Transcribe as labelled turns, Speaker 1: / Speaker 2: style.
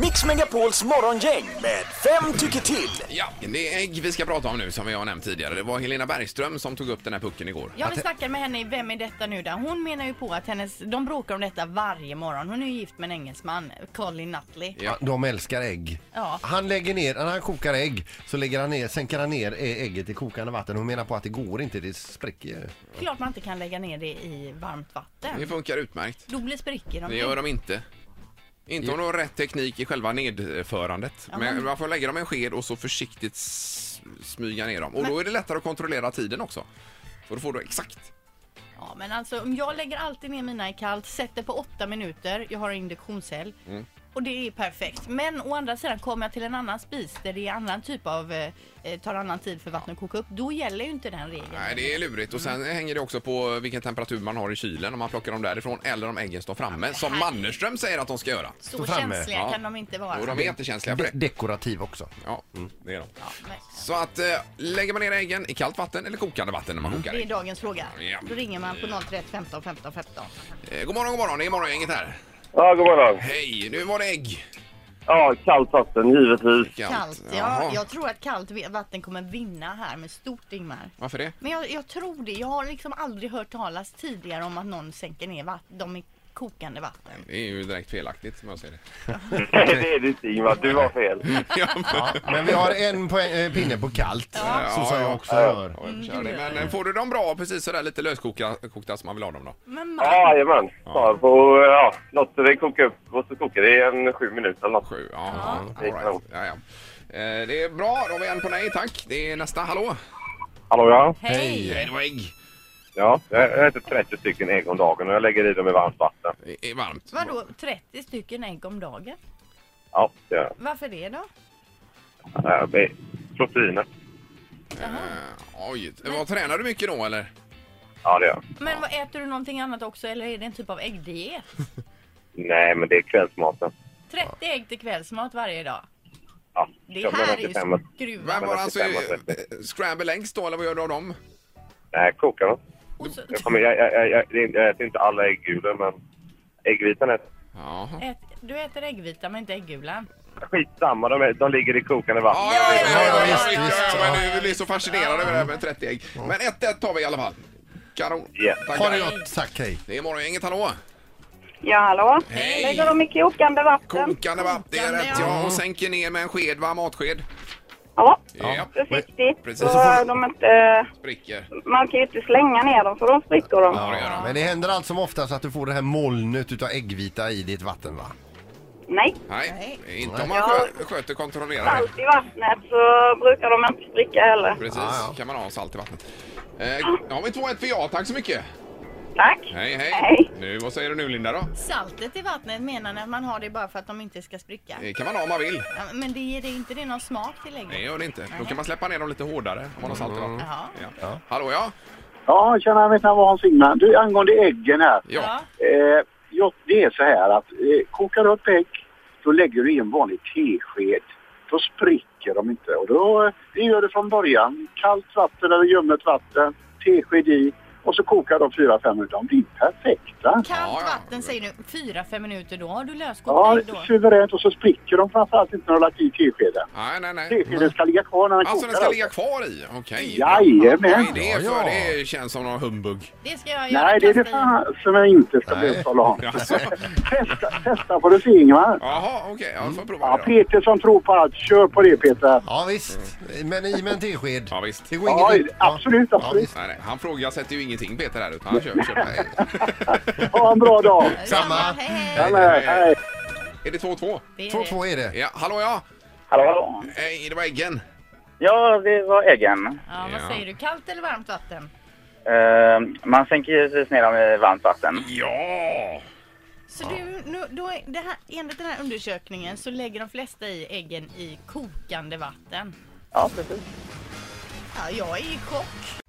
Speaker 1: Mix Megapols morgongäng med fem tycker till.
Speaker 2: Ja, det är ägg vi ska prata om nu som vi har nämnt tidigare. Det var Helena Bergström som tog upp den här pucken igår.
Speaker 3: Jag
Speaker 2: Att-
Speaker 3: vill snacka med henne i Vem är detta nu då? Hon menar ju på att hennes, de bråkar om detta varje morgon. Hon är ju gift med en engelsman, Colin Nutley.
Speaker 2: Ja.
Speaker 4: De älskar ägg.
Speaker 3: Ja.
Speaker 4: Han lägger ner, när han kokar ägg så lägger han ner, sänker han ner eh, ägget i kokande vatten. Hon menar på att det går inte, det spricker ju.
Speaker 3: Klart man inte kan lägga ner det i varmt
Speaker 2: det
Speaker 3: vatten.
Speaker 2: funkar utmärkt.
Speaker 3: Då blir spricker de
Speaker 2: Det
Speaker 3: ju.
Speaker 2: gör de inte. Inte om de har rätt teknik i själva nedförandet.
Speaker 3: Ja,
Speaker 2: Men
Speaker 3: men-
Speaker 2: man får lägga dem i en sked och så försiktigt s- smyga ner dem. Och då är det lättare att kontrollera tiden också. För då får du exakt.
Speaker 3: Ja, men alltså om jag lägger alltid ner mina i kallt, sätter på åtta minuter, jag har en induktionshäll.
Speaker 2: Mm.
Speaker 3: Och det är perfekt. Men å andra sidan kommer jag till en annan spis där det är annan typ av, eh, eh, tar annan tid för vattnet att koka upp. Då gäller ju inte den regeln.
Speaker 2: Nej, det är lurigt. Och
Speaker 3: Mm.
Speaker 2: sen hänger det också på vilken temperatur man har i kylen om man plockar dem därifrån eller om äggen står framme. Som Mannerström säger att de ska göra.
Speaker 3: Så
Speaker 4: Stå framme.
Speaker 3: känsliga
Speaker 2: Ja.
Speaker 3: kan de inte vara. Mm.
Speaker 2: Och de är jättekänsliga för
Speaker 4: De-
Speaker 2: det.
Speaker 4: dekorativ också.
Speaker 2: Ja, det är de.
Speaker 3: Ja, men-
Speaker 2: Så att eh, lägger man ner äggen i kallt vatten eller kokande vatten när man kokar
Speaker 3: Det är
Speaker 2: ägg.
Speaker 3: dagens fråga.
Speaker 2: Ja.
Speaker 3: Då ringer man på 031 15 15 15.
Speaker 2: Eh, god morgon, god morgon. Det är morgongänget här.
Speaker 5: Ja, god morgon.
Speaker 2: Hej, nu var det ägg.
Speaker 5: Ja, kallt vatten, givetvis.
Speaker 3: Kallt.
Speaker 2: Jaha.
Speaker 3: Ja, jag tror att kallt ve- vatten kommer vinna här med stort Ingmar.
Speaker 2: Varför det?
Speaker 3: Men jag, jag tror det. Jag har liksom aldrig hört talas tidigare om att någon sänker ner vatt- de i kokande vatten.
Speaker 2: Det är ju direkt felaktigt som jag ser det.
Speaker 5: Nej, det är det inte, Ingvar. Du var fel.
Speaker 2: Mm.
Speaker 4: Ja, men vi har en poäng, eh, pinne på kallt, så som jag också gör.
Speaker 2: Ja, jag kör det. Men eh, får du dem bra, precis sådär lite löskokta kokta som man vill ha dem då?
Speaker 3: Men man,
Speaker 5: Ja, Jajamän. Spar på... Ja, låter det koka upp och så kokar det i en sju minuter eller något.
Speaker 2: Sju, ja.
Speaker 5: Ja.
Speaker 2: All right. ja, ja. Eh, Det är bra, då har vi en på nej tack. Det är nästa, hallå?
Speaker 5: Hallå, ja.
Speaker 3: hej!
Speaker 2: det var ägg.
Speaker 5: Ja, jag äter 30 stycken ägg om dagen och jag lägger i dem i varmt vatten.
Speaker 2: Det är varmt.
Speaker 3: Vadå 30 stycken ägg om dagen?
Speaker 5: Ja, det gör
Speaker 3: Varför det då?
Speaker 5: jag. Eh, med Proteiner.
Speaker 2: Eh, Oj, vad tränar du mycket då eller?
Speaker 5: Ja, det gör jag.
Speaker 3: Men vad, äter du någonting annat också eller är det en typ av äggdiet?
Speaker 5: Nej, men det är kvällsmaten.
Speaker 3: 30 ägg till kvällsmat varje dag.
Speaker 5: Ja,
Speaker 3: Det
Speaker 5: jag menar
Speaker 3: här är ju
Speaker 5: 25 att-
Speaker 2: Men
Speaker 3: skruvat.
Speaker 2: var alltså
Speaker 5: jag bestämmer
Speaker 2: eh, scramble eggs då eller vad gör du av dem?
Speaker 5: Nej, kokar dem.
Speaker 3: Och så
Speaker 5: Jag, kommer, jag, jag, jag, jag, det är inte- jag äter inte alla äggulor, men äggvitan äter
Speaker 2: Jaha.
Speaker 3: ät, du äter äggvita men inte äggulan.
Speaker 5: Skitsamma, de, är, de ligger i kokande vatten.
Speaker 2: Ja, ja, ja, ja,
Speaker 4: Ja,
Speaker 2: ja,
Speaker 4: visst,
Speaker 2: ja,
Speaker 4: visst,
Speaker 2: ja, men
Speaker 3: ja.
Speaker 2: du blir så fascinerad över det här med 30 ägg. Men 1-1 tar vi i alla fall. Kanon.
Speaker 5: Ja.
Speaker 2: Tack.
Speaker 4: Ha det gott, tack hej.
Speaker 2: Det är morgongänget, hallå?
Speaker 6: Ja, hallå?
Speaker 2: Hej.
Speaker 6: Lägger de mycket kokande vatten?
Speaker 2: Kokande vatten, det är
Speaker 3: Kokande,
Speaker 2: rätt. Ja, och sänker ner med en sked, va? Matsked.
Speaker 6: Ja,
Speaker 2: Ja.
Speaker 6: försiktigt.
Speaker 2: Precis.
Speaker 6: Så eh, de inte,
Speaker 2: Spricker.
Speaker 6: man kan ju inte slänga ner dem för då spricker de.
Speaker 2: Ja, det gör de.
Speaker 4: Men det händer allt som oftast att du får det här molnet utav äggvita i ditt vatten va?
Speaker 6: Nej,
Speaker 2: Nej, inte om man
Speaker 6: Ja.
Speaker 2: skö- sköter kontrollerar det.
Speaker 6: salt i vattnet så brukar de inte spricka heller.
Speaker 2: Precis,
Speaker 4: Ja, ja.
Speaker 2: kan man ha salt i vattnet. Eh, då har vi 2-1 för ja, tack så mycket.
Speaker 6: Tack!
Speaker 2: Hej, hej.
Speaker 6: Hej.
Speaker 2: Nu, vad säger du nu Linda då?
Speaker 3: Saltet i vattnet menar ni att man har det bara för att de inte ska spricka?
Speaker 2: Det kan man ha om man vill.
Speaker 3: Ja, men det ger det inte det någon smak till
Speaker 2: Nej,
Speaker 3: ägget?
Speaker 2: gör det inte. Då kan man släppa ner dem lite hårdare om man har salt i vattnet.
Speaker 3: Jaha.
Speaker 4: Mm.
Speaker 2: Ja. Hallå ja?
Speaker 7: Ja, tjena, mitt namn var Hans Ingman. Du, angående äggen här.
Speaker 2: Ja.
Speaker 7: Eh, ja, det är så här att eh, kokar du upp ägg, då lägger du i en vanlig tesked. Då spricker de inte. Och då, eh, det gör du från början. Kallt vatten eller ljummet vatten, tesked i och så kokar de 4-5 minuter. De blir perfekta.
Speaker 3: Kallt
Speaker 2: Ja, ja.
Speaker 3: vatten säger du, 4-5 minuter, då har du
Speaker 7: Ja,
Speaker 3: löskokt ägg då?
Speaker 7: suveränt. Och så spricker de framförallt inte när du har lagt i teskeden.
Speaker 2: Nej, nej, nej.
Speaker 7: Teskeden ska ligga kvar när den
Speaker 2: Alltså
Speaker 7: kokar.
Speaker 2: den ska ligga kvar i? Okej.
Speaker 7: Jajamän.
Speaker 2: Vad är det
Speaker 4: Ja,
Speaker 2: för?
Speaker 4: ja.
Speaker 2: Det känns som någon humbug.
Speaker 3: Det ska jag göra.
Speaker 7: Nej, det är det
Speaker 3: kasta i.
Speaker 7: fan som jag inte ska
Speaker 4: Nej.
Speaker 7: behöva tala om.
Speaker 2: Alltså.
Speaker 7: Testa, testa får du se Ingvar.
Speaker 2: Jaha, okej. Ja, jag får prova
Speaker 7: Mm. Ja,
Speaker 2: det då.
Speaker 7: Peter som tror på allt. Kör på det Peter.
Speaker 4: Ja visst, men i med en tesked.
Speaker 2: Ja, visst.
Speaker 4: Det går
Speaker 7: Ja,
Speaker 4: inget ut.
Speaker 7: absolut, absolut.
Speaker 2: Nej, nej. Han frågasätter ju ingenting Peter här utan han kör. kör.
Speaker 7: Ha en bra dag.
Speaker 4: Samma.
Speaker 3: Hej, hej.
Speaker 7: Ja, men, hej.
Speaker 2: Är det 2-2?
Speaker 3: Det är
Speaker 4: Två,
Speaker 3: det.
Speaker 4: två är det.
Speaker 2: Ja, hallå ja?
Speaker 5: Hallå, hallå.
Speaker 2: Nej, det var äggen.
Speaker 8: Ja, det var äggen.
Speaker 3: Ja,
Speaker 2: Ja.
Speaker 3: vad säger du? Kallt eller varmt vatten?
Speaker 8: Eh, man sänker givetvis ner dem i varmt vatten.
Speaker 2: Ja!
Speaker 3: Så du, nu, då är det här, enligt den här undersökningen så lägger de flesta i äggen i kokande vatten.
Speaker 8: Ja, precis.
Speaker 3: Ja, jag är i chock.